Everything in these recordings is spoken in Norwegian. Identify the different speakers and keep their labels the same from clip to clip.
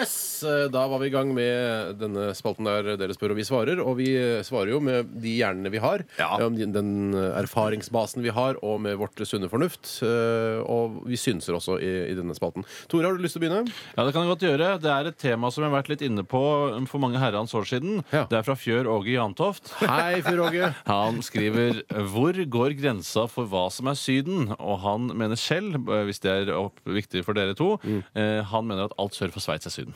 Speaker 1: eh, da var vi i gang med denne spalten der dere spør og vi svarer. Og vi eh, svarer jo med de hjernene vi har,
Speaker 2: Ja.
Speaker 1: eh, om de- den erfaringsbasen vi har, og med vårt sunne fornuft. eh, Og vi synser også i, i denne spalten. Tore, har du lyst til å begynne?
Speaker 3: Ja, Det kan jeg godt gjøre. Det er et tema som jeg har vært litt inne på um, for mange herrens år siden.
Speaker 1: Ja.
Speaker 3: Det er fra Fjør Åge Jantoft.
Speaker 1: Hei, Fyr Åge.
Speaker 3: Han skriver Hvor går grensa for hva som er Syden? Og han mener selv, eh, hvis det er opp, viktig for dere to,
Speaker 1: Mm.
Speaker 3: eh, han mener at alt sør for Sveits er Syden.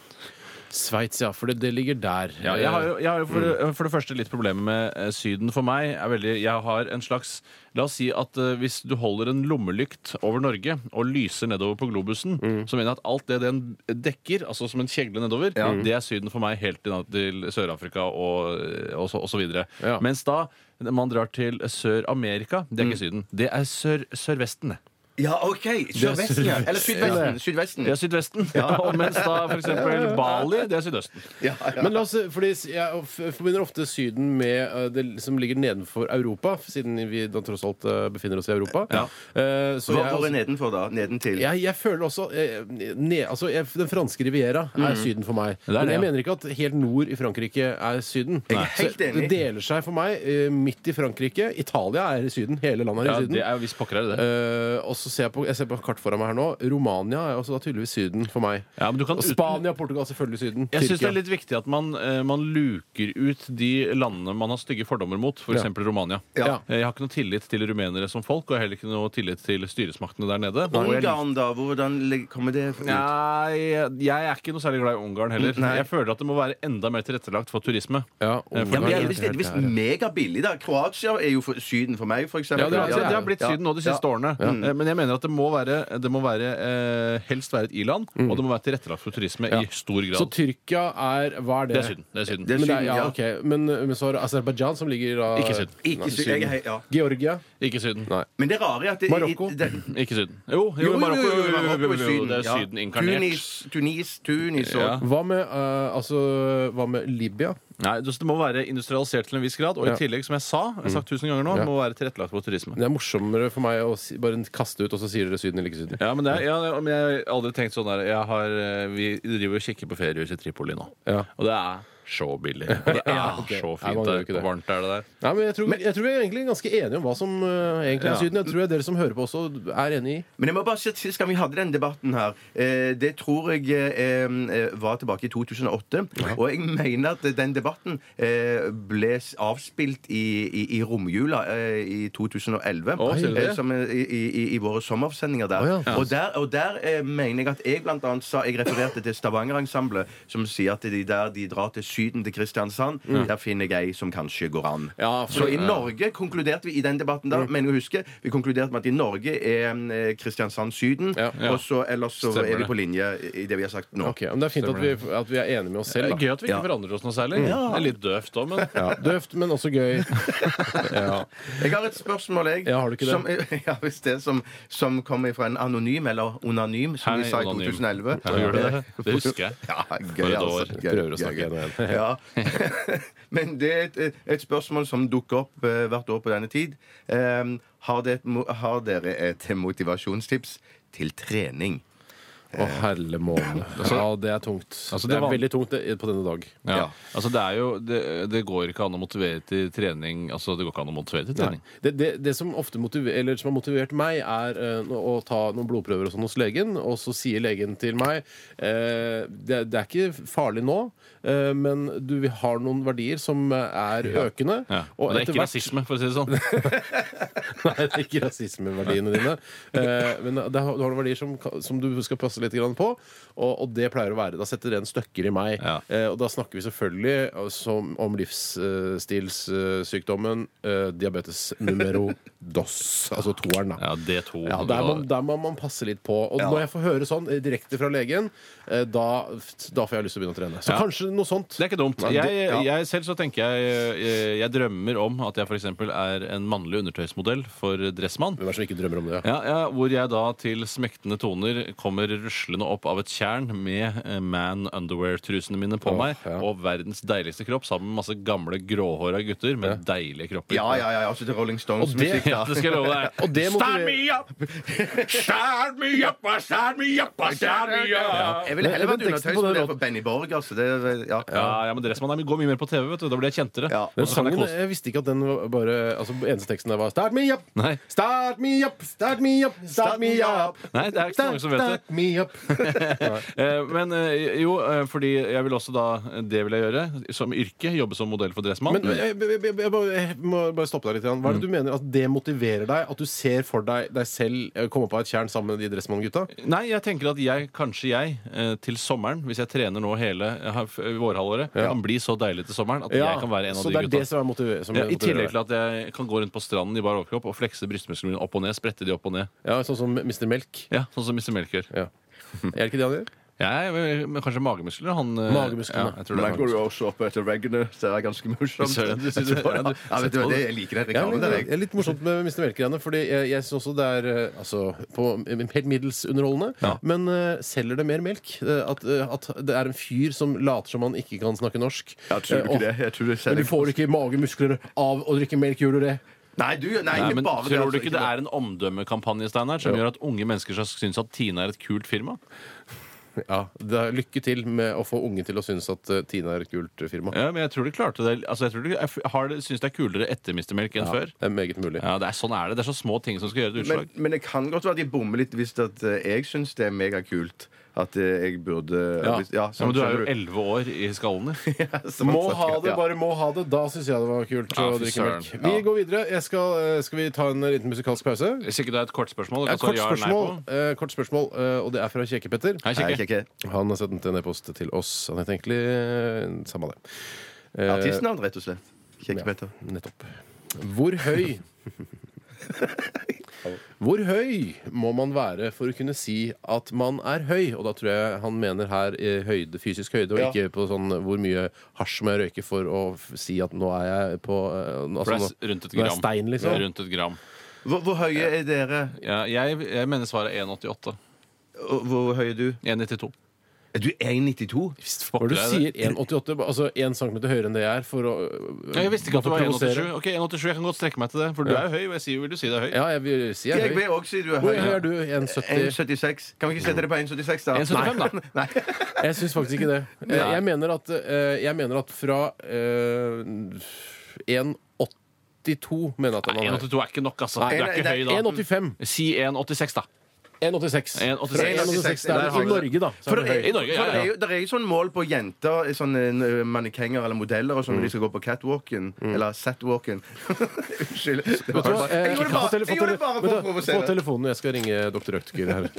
Speaker 1: Sveits, ja. For det, det ligger der.
Speaker 3: Ja, jeg har jo, jeg har jo for,
Speaker 1: Mm.
Speaker 3: det, for det første litt problemer med eh, Syden. For meg er veldig Jeg har en slags La oss si at eh, hvis du holder en lommelykt over Norge og lyser nedover på globusen,
Speaker 1: Mm.
Speaker 3: så mener jeg at alt det den dekker, altså som en kjegle nedover, det er Syden for meg helt til, til Sør-Afrika og, eh, og, så, og så videre.
Speaker 1: Ja.
Speaker 3: Mens da man drar til Sør-Amerika, det er ikke
Speaker 1: Mm.
Speaker 3: Syden. Det er sør- Sørvesten. det.
Speaker 2: Ja, OK! Sørvesten, ja. Eller Sydvesten. Sydvesten.
Speaker 3: Det er Sydvesten. Og mens da for eksempel Bali, det er Sydøsten.
Speaker 2: Ja, ja.
Speaker 1: Eh, Men la oss, fordi Jeg f- forbinder ofte Syden med eh, det som ligger nedenfor Europa, siden vi da tross alt eh, befinner oss i Europa.
Speaker 3: Ja.
Speaker 1: Eh, så jeg
Speaker 2: Hvor hvor
Speaker 3: altså-
Speaker 1: også-
Speaker 2: er nedenfor, da? Nedentil?
Speaker 1: jeg, jeg føler også eh, ne, altså, jeg, Den franske riviera er Syden for meg.
Speaker 3: er Mm. det,
Speaker 1: Men jeg
Speaker 3: ja.
Speaker 1: mener ikke at helt nord i Frankrike er Syden.
Speaker 2: Jeg er helt
Speaker 1: Så Det
Speaker 2: enig.
Speaker 1: deler seg for meg eh, midt i Frankrike. Italia er i Syden. Hele landet er
Speaker 3: Ja,
Speaker 1: i Syden.
Speaker 3: det er jo visst pokker er det det.
Speaker 1: Eh, og så ser jeg på, jeg ser på kart foran meg her nå. Romania er også da tydeligvis Syden for meg.
Speaker 3: Ja, men du kan
Speaker 1: og
Speaker 3: uten-
Speaker 1: Spania, Portugal selvfølgelig Syden.
Speaker 3: Jeg syns det er litt viktig at man, eh, man luker ut de landene man har stygge fordommer mot, f.eks. eksempel Romania.
Speaker 1: Ja.
Speaker 3: Eh, Jeg har ikke noe tillit til rumenere som folk, og jeg har heller ikke noe tillit til styresmaktene der nede. Og jeg liker-
Speaker 2: Ungarn, da? Hvordan lig- kommer det ut?
Speaker 3: Nei, jeg er ikke noe særlig glad i Ungarn heller.
Speaker 2: Nei.
Speaker 3: Jeg føler at det må være enda mer tilrettelagt for turisme.
Speaker 1: Ja,
Speaker 3: Eh, for
Speaker 2: Ja, men
Speaker 3: det
Speaker 2: jeg
Speaker 3: er-
Speaker 2: er visst, det er visst
Speaker 1: Helt
Speaker 2: megabillig, da. Kroatia er jo for, Syden for meg, for eksempel.
Speaker 1: Ja, det er-
Speaker 3: det, altså- det har blitt
Speaker 2: Ja.
Speaker 3: Syden nå de siste
Speaker 2: Ja.
Speaker 3: årene. Eh, Men jeg mener at det må være, det må være eh, helst være et i-land, og det må være tilrettelagt for turisme i stor grad.
Speaker 1: Så Tyrkia er Hva er det?
Speaker 3: det er Syden. Det er syden.
Speaker 2: Det er
Speaker 1: Men, det er,
Speaker 2: Syden,
Speaker 1: ja,
Speaker 2: ja.
Speaker 1: ok. men, men så er det Aserbajdsjan som ligger da
Speaker 3: Ikke Syden.
Speaker 2: Ikke
Speaker 1: Nei,
Speaker 2: Syden. Jeg er helt- ja.
Speaker 1: Georgia.
Speaker 3: Ikke Syden.
Speaker 1: Nei.
Speaker 2: Men det rare er at det,
Speaker 1: Marokko?
Speaker 2: i- det,
Speaker 3: Ikke Syden. Jo, jo, Marokko, jo, jo, jo, jo, jo, jo, det er
Speaker 2: ja.
Speaker 3: Syden inkarnert.
Speaker 2: Tunis, Tunis, Tunis og
Speaker 3: Ja.
Speaker 1: Hva med, eh, altså, hva med Libya?
Speaker 3: Nei, det det må være industrialisert til en viss grad. Og
Speaker 1: Ja.
Speaker 3: i tillegg, som jeg sa, jeg har sagt tusen ganger nå,
Speaker 1: Ja.
Speaker 3: må være tilrettelagt for turisme.
Speaker 1: Det er morsommere for meg å si, bare kaste ut, og så sier dere Syden eller ikke Syden.
Speaker 3: Ja, men, det er, ja, men jeg har aldri tenkt sånn der jeg har, eh, Vi driver og kikker på feriehus i Tripoli nå.
Speaker 1: Ja.
Speaker 3: Og det er så billig. Og det er så
Speaker 1: Nei,
Speaker 3: fint
Speaker 1: man gjør
Speaker 3: der.
Speaker 1: ikke det.
Speaker 3: Og varmt er det der.
Speaker 1: Nei, men jeg tror, jeg tror vi er egentlig ganske enige om hva som eh, egentlig er
Speaker 3: Ja.
Speaker 1: Syden. Jeg tror jeg dere som hører på også er enig i.
Speaker 2: Men jeg må bare si at sist gang vi hadde den debatten her, eh, det tror jeg eh, eh, var tilbake i 2008. Og jeg mener at den debatten eh, ble s- avspilt i, i, i romjula eh, i 2011.
Speaker 3: Å, sier du det?
Speaker 2: eh, som eh, i, i, I våre sommersendinger der.
Speaker 1: Å, ja.
Speaker 2: Og der, og der eh, mener jeg at jeg blant annet sa Jeg refererte til Stavanger-ensemblet, som sier at de der de drar til Syden, til Kristiansand,
Speaker 3: Mm.
Speaker 2: der finner jeg ei som kanskje går an.
Speaker 3: Ja, Mm. for-
Speaker 2: Så i Norge konkluderte vi i den debatten da, men jeg husker, vi konkluderte med at i Norge er eh, Kristiansand Syden,
Speaker 1: Ja,
Speaker 3: ja.
Speaker 2: og så ellers så
Speaker 3: Stemmer
Speaker 2: er vi
Speaker 3: det.
Speaker 2: på linje i det vi har sagt nå.
Speaker 1: Ok, men Det er fint at vi, at vi er enige med oss
Speaker 3: Det
Speaker 1: selv.
Speaker 3: er
Speaker 1: Da.
Speaker 3: gøy at vi ikke forandrer oss noe særlig. Det er litt døvt òg, men
Speaker 1: Ja, Døvt, men også gøy. Ja.
Speaker 2: Jeg har et spørsmål, jeg.
Speaker 1: Ja, har du ikke det?
Speaker 2: Som, ja, hvis det som, som kommer fra en anonym, eller onanym, som
Speaker 3: Hei,
Speaker 2: vi sa i
Speaker 3: anonym.
Speaker 2: 2011.
Speaker 3: Ja, gjør du det? Det husker jeg.
Speaker 2: Ja,
Speaker 3: For
Speaker 2: gøy,
Speaker 3: et
Speaker 2: altså.
Speaker 3: år.
Speaker 2: Gøy,
Speaker 1: Prøver å
Speaker 2: gøy,
Speaker 1: snakke
Speaker 2: gøy.
Speaker 1: igjen og
Speaker 2: Ja. Men det er et, et spørsmål som dukker opp eh, hvert år på denne tid. Um, har, det et, mo- har dere et motivasjonstips til trening?
Speaker 1: Å, herre måne. Ja, det er tungt.
Speaker 3: Altså,
Speaker 1: det
Speaker 3: det
Speaker 1: er
Speaker 3: var-
Speaker 1: veldig tungt det, på denne dag.
Speaker 3: ja.
Speaker 2: Ja.
Speaker 3: Altså, det, er jo, det, det går ikke an å motivere til trening. Altså, det går ikke an å motivere til trening.
Speaker 1: Det, det, det som ofte motiver, eller som har motivert meg, er eh, nå- å ta noen blodprøver og sånn hos legen, og så sier legen til meg eh, det, det er ikke farlig nå, eh, men du vi har noen verdier som eh, er økende.
Speaker 3: Ja. Og
Speaker 1: etter
Speaker 3: det er ikke
Speaker 1: hvert-
Speaker 3: rasisme, for å si det sånn.
Speaker 1: Nei, det er ikke rasismeverdiene dine. Eh, men det har, du har noen verdier som, ka- som du skal passe litt grann på, og, og det pleier å være. Da setter den støkker i meg.
Speaker 3: Ja.
Speaker 1: Eh, og da snakker vi selvfølgelig eh, som, om livsstilssykdommen eh, diabetes numero dos, altså toeren, da.
Speaker 3: Ja, det to.
Speaker 1: Ja, der, må, der må man passe litt på. Og når jeg får høre sånn eh, direkte fra legen, eh, da, da får jeg lyst til å begynne å trene. Så
Speaker 3: Ja.
Speaker 1: kanskje noe sånt.
Speaker 3: Det er ikke dumt.
Speaker 1: Nei, det-
Speaker 3: Jeg,
Speaker 1: ja.
Speaker 3: jeg selv så tenker jeg, jeg Jeg drømmer om at jeg f.eks. er en mannlig undertøysmodell for Dressmann.
Speaker 1: Hvem er det som ikke drømmer om det?
Speaker 3: Ja, ja, hvor jeg da til smektende toner kommer ruslende opp av et tjern med eh, man underwear-trusene mine på
Speaker 1: Åh,
Speaker 3: meg,
Speaker 1: ja.
Speaker 3: og verdens deiligste kropp sammen med masse gamle, gråhåra gutter med deilige kropper.
Speaker 2: Ja, ja, ja. Altså til Rolling Stones
Speaker 1: Og det-
Speaker 2: musikk.
Speaker 3: Ja, det skal jeg love deg.
Speaker 1: Og det
Speaker 3: Stand
Speaker 1: motiverer-
Speaker 3: me up! Stand me up! ah, Stand me up! ah, Stand me up!
Speaker 2: Jeg ville heller
Speaker 1: Men-
Speaker 2: vært
Speaker 1: men teksten på
Speaker 2: undertøysmodell
Speaker 1: den
Speaker 2: for Benny Borg. Altså. Det, er vel- ja.
Speaker 3: Ja, ja, men dere som er, går mye mer på TV, vet du. Da blir jeg kjentere. sånn
Speaker 2: Ja.
Speaker 3: Og
Speaker 1: Den
Speaker 3: så kan jeg
Speaker 1: sangen,
Speaker 3: kose-
Speaker 1: jeg visste ikke at den var bare altså, Eneste teksten der var Start me up!
Speaker 3: Nei.
Speaker 1: Start me up! Start me up! Start me up!
Speaker 3: Nei, det er ikke så mange som vet det.
Speaker 1: Start me up!
Speaker 3: Eh, Men eh, jo, eh, fordi jeg vil også da Det vil jeg gjøre som yrke. Jobbe som modell for Dressmann.
Speaker 1: Men eh, jeg, jeg, jeg, jeg, bare- jeg må bare stoppe deg litt. grann.
Speaker 3: Mm.
Speaker 1: Hva er det du mener at det motiverer deg? At du ser for deg deg selv eh, komme opp av et tjern sammen med de Dressmann-gutta?
Speaker 3: Nei, jeg tenker at jeg, kanskje jeg, eh, til sommeren, hvis jeg trener nå hele eh, ha- f- vårhalvåret, kan bli så deilig til sommeren at jeg kan være en av
Speaker 1: så
Speaker 3: de
Speaker 1: det er
Speaker 3: gutta.
Speaker 1: det som er motiver som
Speaker 3: Ja, I
Speaker 1: motiverer
Speaker 3: tillegg
Speaker 1: deg.
Speaker 3: til at jeg kan gå rundt på stranden i bar overkropp og flekse brystmusklene mine opp og ned. Sprette de opp og ned.
Speaker 1: Ja, sånn som Mr. Melk.
Speaker 3: Ja, Sånn som Mr. Melk gjør.
Speaker 1: Ja. Er det ikke det han gjør?
Speaker 3: Jeg, men kanskje magemuskler? Han, eh,
Speaker 1: Magemusklene.
Speaker 3: Ja, jeg tror
Speaker 2: Men
Speaker 3: det
Speaker 2: der
Speaker 3: er
Speaker 2: går du
Speaker 3: magemuskler.
Speaker 2: også opp etter Regner, så det er ganske morsomt.
Speaker 3: Søren, du synes-
Speaker 2: Jeg tror-
Speaker 3: ja, du-
Speaker 2: ja, vet du hva, det- Jeg liker den
Speaker 1: Ja,
Speaker 2: reklamen
Speaker 1: men det
Speaker 2: der,
Speaker 1: er- det
Speaker 2: jeg.
Speaker 1: er litt morsomt med Mr. Melk-greiene. Fordi jeg, jeg syns også det er eh, altså, på, helt middels underholdende.
Speaker 3: Ja.
Speaker 1: Men eh, selger det mer melk? Eh, at, eh, at det er en fyr som later som han ikke kan snakke norsk.
Speaker 2: Jeg tror
Speaker 1: Eh,
Speaker 2: ikke
Speaker 1: og-
Speaker 2: det. Jeg tror det
Speaker 1: Men du får ikke magemuskler av å drikke melk, gjør du det?
Speaker 2: Nei, du, nei,
Speaker 3: Nei,
Speaker 2: ikke
Speaker 3: men
Speaker 2: bare
Speaker 3: Tror du
Speaker 2: altså,
Speaker 3: ikke det er en omdømmekampanje Steinar, som
Speaker 1: Jo.
Speaker 3: gjør at unge mennesker skal synes at Tina er et kult firma?
Speaker 1: Ja, da, Lykke til med å få unge til å synes at eh, Tina er et kult firma.
Speaker 3: Ja, men Jeg tror de klarte det. Altså, jeg tror de, jeg f- har det, synes det er kulere etter Mr. Melk enn før.
Speaker 1: Det er meget mulig.
Speaker 3: Ja, det er, Sånn er det. Det er så små ting som skal gjøre et
Speaker 2: men,
Speaker 3: utslag.
Speaker 2: men det kan godt være at de bommer litt hvis at eh, jeg syns det er megakult at eh, jeg burde
Speaker 1: Ja.
Speaker 2: hvis- ja,
Speaker 3: Ja,
Speaker 2: sånn
Speaker 3: men du er jo
Speaker 2: skjønner
Speaker 3: elleve år i skallene.
Speaker 2: Sånn
Speaker 1: Må
Speaker 2: sett,
Speaker 1: ha det,
Speaker 2: ja.
Speaker 1: bare må ha det. Da syns jeg det var kult
Speaker 3: Ja,
Speaker 1: å
Speaker 3: fy
Speaker 1: drikke melk.
Speaker 3: søren.
Speaker 1: Vi
Speaker 3: Ja.
Speaker 1: går videre. Jeg skal, eh, skal vi ta en liten musikalsk pause?
Speaker 3: Hvis ikke det er et kort spørsmål,
Speaker 1: Ja,
Speaker 3: du kan
Speaker 1: kort,
Speaker 3: svare Altså, ja eller nei
Speaker 1: spørsmål,
Speaker 3: på.
Speaker 1: eh, kort spørsmål, eh, og det er fra Kjekke-Petter.
Speaker 3: Hei,
Speaker 2: Nei,
Speaker 3: kjekke.
Speaker 2: ikke- ikke.
Speaker 1: Han har sendt en e-post til oss. Han heter egentlig eh, samme det. Eh,
Speaker 2: Artistnavn, rett og slett. Kjekke
Speaker 1: ja,
Speaker 2: Petter.
Speaker 1: nettopp. Hvor høy Hvor høy må man være for å kunne si at man er høy? Og da tror jeg han mener her eh, høyde, fysisk høyde, og
Speaker 2: Ja.
Speaker 1: ikke på sånn hvor mye hasj må jeg røyke for å f si at nå er jeg på eh,
Speaker 3: For
Speaker 1: altså,
Speaker 3: det er s-
Speaker 1: nå-
Speaker 3: rundt et
Speaker 1: nå er jeg
Speaker 3: gram.
Speaker 1: stein,
Speaker 3: Det er
Speaker 1: liksom.
Speaker 3: Rundt et gram.
Speaker 2: Hvor, hvor høye er dere?
Speaker 3: Ja, jeg, jeg mener svaret er 1,88.
Speaker 2: Og Hvor høy er du?
Speaker 3: 1,92.
Speaker 2: Er du 1,92?
Speaker 1: Når du
Speaker 3: Det er det.
Speaker 1: sier 1,88, altså 1 cm høyere enn det jeg er for å øh,
Speaker 3: Ja, Jeg visste ikke at du
Speaker 1: for
Speaker 3: var
Speaker 1: å provosere.
Speaker 3: 1,87. Ok, 1,87, Jeg kan godt strekke meg til det, for du er jo høy. og jeg sier, vil du si det er høy?
Speaker 1: Ja, jeg vil si jeg
Speaker 2: Jeg
Speaker 1: er høy.
Speaker 2: vil også si du er
Speaker 1: Hvor høy
Speaker 2: høy.
Speaker 1: er du? 1,70?
Speaker 2: 1,76. Kan vi ikke sette det på 1,76, da?
Speaker 3: 1,75 da.
Speaker 2: Nei.
Speaker 1: Jeg syns faktisk ikke det. Eh,
Speaker 3: Nei.
Speaker 1: Jeg mener at, eh, jeg mener at fra eh, 1,82 mener jeg at
Speaker 3: Nei,
Speaker 1: han er høy.
Speaker 3: 1,82 er ikke nok, altså. Du er ikke
Speaker 2: Nei,
Speaker 3: høy
Speaker 2: nei,
Speaker 3: da.
Speaker 1: 1,85.
Speaker 3: Si 1,86, da.
Speaker 1: 1,86.
Speaker 3: 1,86.
Speaker 1: Fra 1,86
Speaker 2: Der
Speaker 1: der,
Speaker 2: har
Speaker 1: I
Speaker 2: vi det.
Speaker 1: Norge, da. Så
Speaker 2: For
Speaker 1: er det
Speaker 2: det er,
Speaker 1: høy.
Speaker 3: I Norge, ja,
Speaker 2: for det er
Speaker 3: ja.
Speaker 2: jo der er jo sånn mål på jenter, sånne eh, mannekenger eller modeller og sånn, når de skal gå på catwalken. Eller satwalken. Unnskyld. Det
Speaker 1: Vet
Speaker 2: var
Speaker 1: du hva,
Speaker 2: bare-
Speaker 1: eh,
Speaker 2: Jeg gjorde
Speaker 1: få
Speaker 2: det bare,
Speaker 1: tele- få
Speaker 2: jeg gjorde
Speaker 1: tele-
Speaker 2: det bare
Speaker 1: vet
Speaker 2: for
Speaker 1: du,
Speaker 2: å
Speaker 1: Få
Speaker 2: provosere.
Speaker 1: telefonen, jeg skal ringe doktor Røktger her.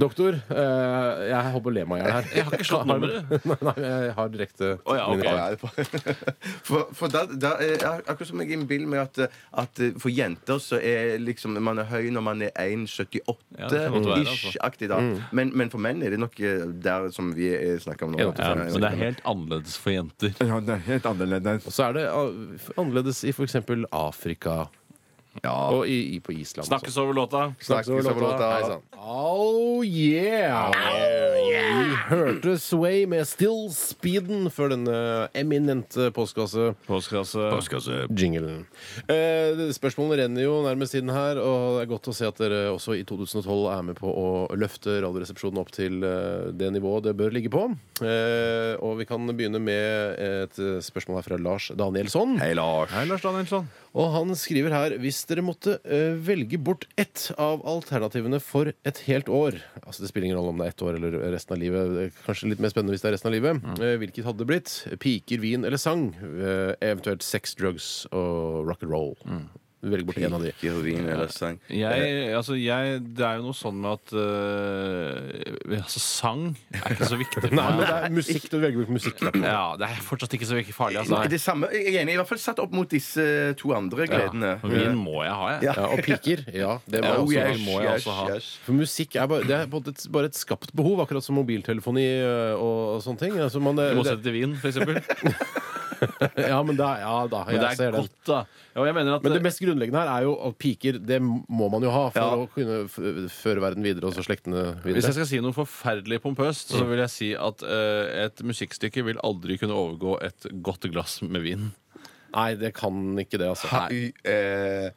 Speaker 1: Doktor, eh, jeg holder på å le meg i hjel her.
Speaker 3: Jeg har ikke slått nummeret.
Speaker 1: Nei, nei, jeg har direkte
Speaker 3: Å, ja, ok.
Speaker 1: min-
Speaker 2: Ja, det er bare- For, for da, da, er- akkurat som jeg innbiller meg at, eh, at for jenter så er liksom man er høy når man er
Speaker 3: Ja, det kan godt være, altså.
Speaker 2: 1,78-ish-aktig. da men, men for menn er det nok eh, der som vi eh, snakker om nå.
Speaker 1: 1,85.
Speaker 3: Ja, men det er helt annerledes for jenter.
Speaker 4: Ja, det er helt annerledes.
Speaker 1: Og så er det ah, annerledes i f.eks. Afrika
Speaker 2: Ja.
Speaker 1: og i, i, på Island. og sånn.
Speaker 3: Snakkes over låta.
Speaker 2: Snakkes over låta.
Speaker 1: Hei sann. Oh yeah! Vi hørte Sway med Still Speeden før denne eminente postkasse-jingelen.
Speaker 3: Postkasse.
Speaker 1: Eh, spørsmålene renner jo nærmest inn her, og det er godt å se at dere også i 2012 er med på å løfte Radioresepsjonen opp til eh, det nivået det bør ligge på. Eh, og vi kan begynne med et eh, spørsmål her fra Lars Danielsson.
Speaker 2: Hei, Lars.
Speaker 3: Hei, Lars Danielsson.
Speaker 1: Og han skriver her hvis dere måtte ø, velge bort ett av alternativene for et helt år Altså Det spiller ingen rolle om det er ett år eller resten av livet. Det er Kanskje litt mer spennende hvis det er resten av livet. Eh, hvilket hadde det blitt? Piker, vin eller sang? Eh, eventuelt sex, drugs og rock and roll. Velg bort en av de.
Speaker 2: Heroin eller sang.
Speaker 3: Jeg,
Speaker 1: Eh.
Speaker 3: altså, jeg, det er jo noe sånn med at øh, altså, sang er ikke så viktig. for
Speaker 1: Nei, men
Speaker 3: meg.
Speaker 1: det er musikk. Du velger bort musikk. da.
Speaker 3: Ja, det er fortsatt ikke så farlig. Altså.
Speaker 2: Det samme, jeg er enig, i hvert fall satt opp mot disse to andre gledene.
Speaker 3: Ja, og Vin må jeg ha, jeg.
Speaker 2: Ja.
Speaker 1: Ja, og piker. Ja, det må jeg
Speaker 3: Ja, oh,
Speaker 1: også ha.
Speaker 3: yes. må jeg også ha.
Speaker 1: For musikk er bare, det er på en måte et, bare et skapt behov, akkurat som mobiltelefoni ø, og, og eh, sånne ting. Altså, man,
Speaker 3: I
Speaker 1: det,
Speaker 3: motsetning til vin, for eksempel.
Speaker 1: ja, men da, ja, da
Speaker 3: Men
Speaker 1: jeg
Speaker 3: det er
Speaker 1: ser den.
Speaker 3: godt, da. Ja, og jeg mener at
Speaker 1: Men det mest grunnleggende her er jo at piker det må man jo ha for
Speaker 2: Ja.
Speaker 1: å kunne f- føre verden videre, og så slektene
Speaker 3: eh, Hvis jeg
Speaker 1: videre.
Speaker 3: skal si noe forferdelig pompøst,
Speaker 1: Mm.
Speaker 3: så vil jeg si at eh, et musikkstykke vil aldri kunne overgå et godt glass med vin.
Speaker 1: Nei, det kan ikke det, altså.
Speaker 2: Nei. Eh,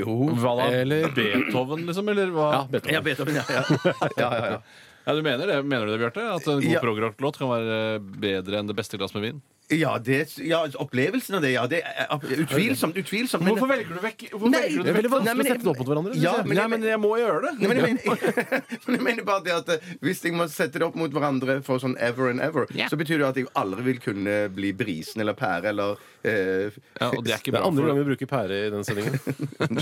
Speaker 2: jo
Speaker 3: Hva da?
Speaker 1: Eller-
Speaker 3: Beethoven, liksom? Eller hva?
Speaker 1: Ja,
Speaker 3: Ja,
Speaker 1: Beethoven.
Speaker 2: Ja, Beethoven, ja. ja. ja, ja, ja.
Speaker 3: du mener det, mener du det, Bjarte? At en god
Speaker 2: Ja.
Speaker 3: progrock-låt kan være eh, bedre enn det beste glass med vin?
Speaker 2: ja, det, ja altså, opplevelsen av det, ja. Det er ab- utvilsomt. utvilsomt men-
Speaker 3: Hvorfor velger du vekk
Speaker 2: Nei, velger du
Speaker 1: Det er veldig
Speaker 2: Nei, men
Speaker 1: vanskelig å
Speaker 2: jeg-
Speaker 1: sette det opp mot hverandre.
Speaker 2: Ja,
Speaker 1: synes jeg.
Speaker 2: men-
Speaker 3: Nei, men jeg må gjøre det!
Speaker 2: Nei, men jeg mener, men jeg mener bare det at eh, hvis jeg må sette det opp mot hverandre for sånn ever and ever,
Speaker 3: Ja.
Speaker 2: så betyr det at jeg aldri vil kunne bli brisen eller pære eller eh,
Speaker 3: Ja, og det er ikke
Speaker 1: Det
Speaker 3: bra
Speaker 1: er andre
Speaker 3: for
Speaker 1: gang vi bruker pære i den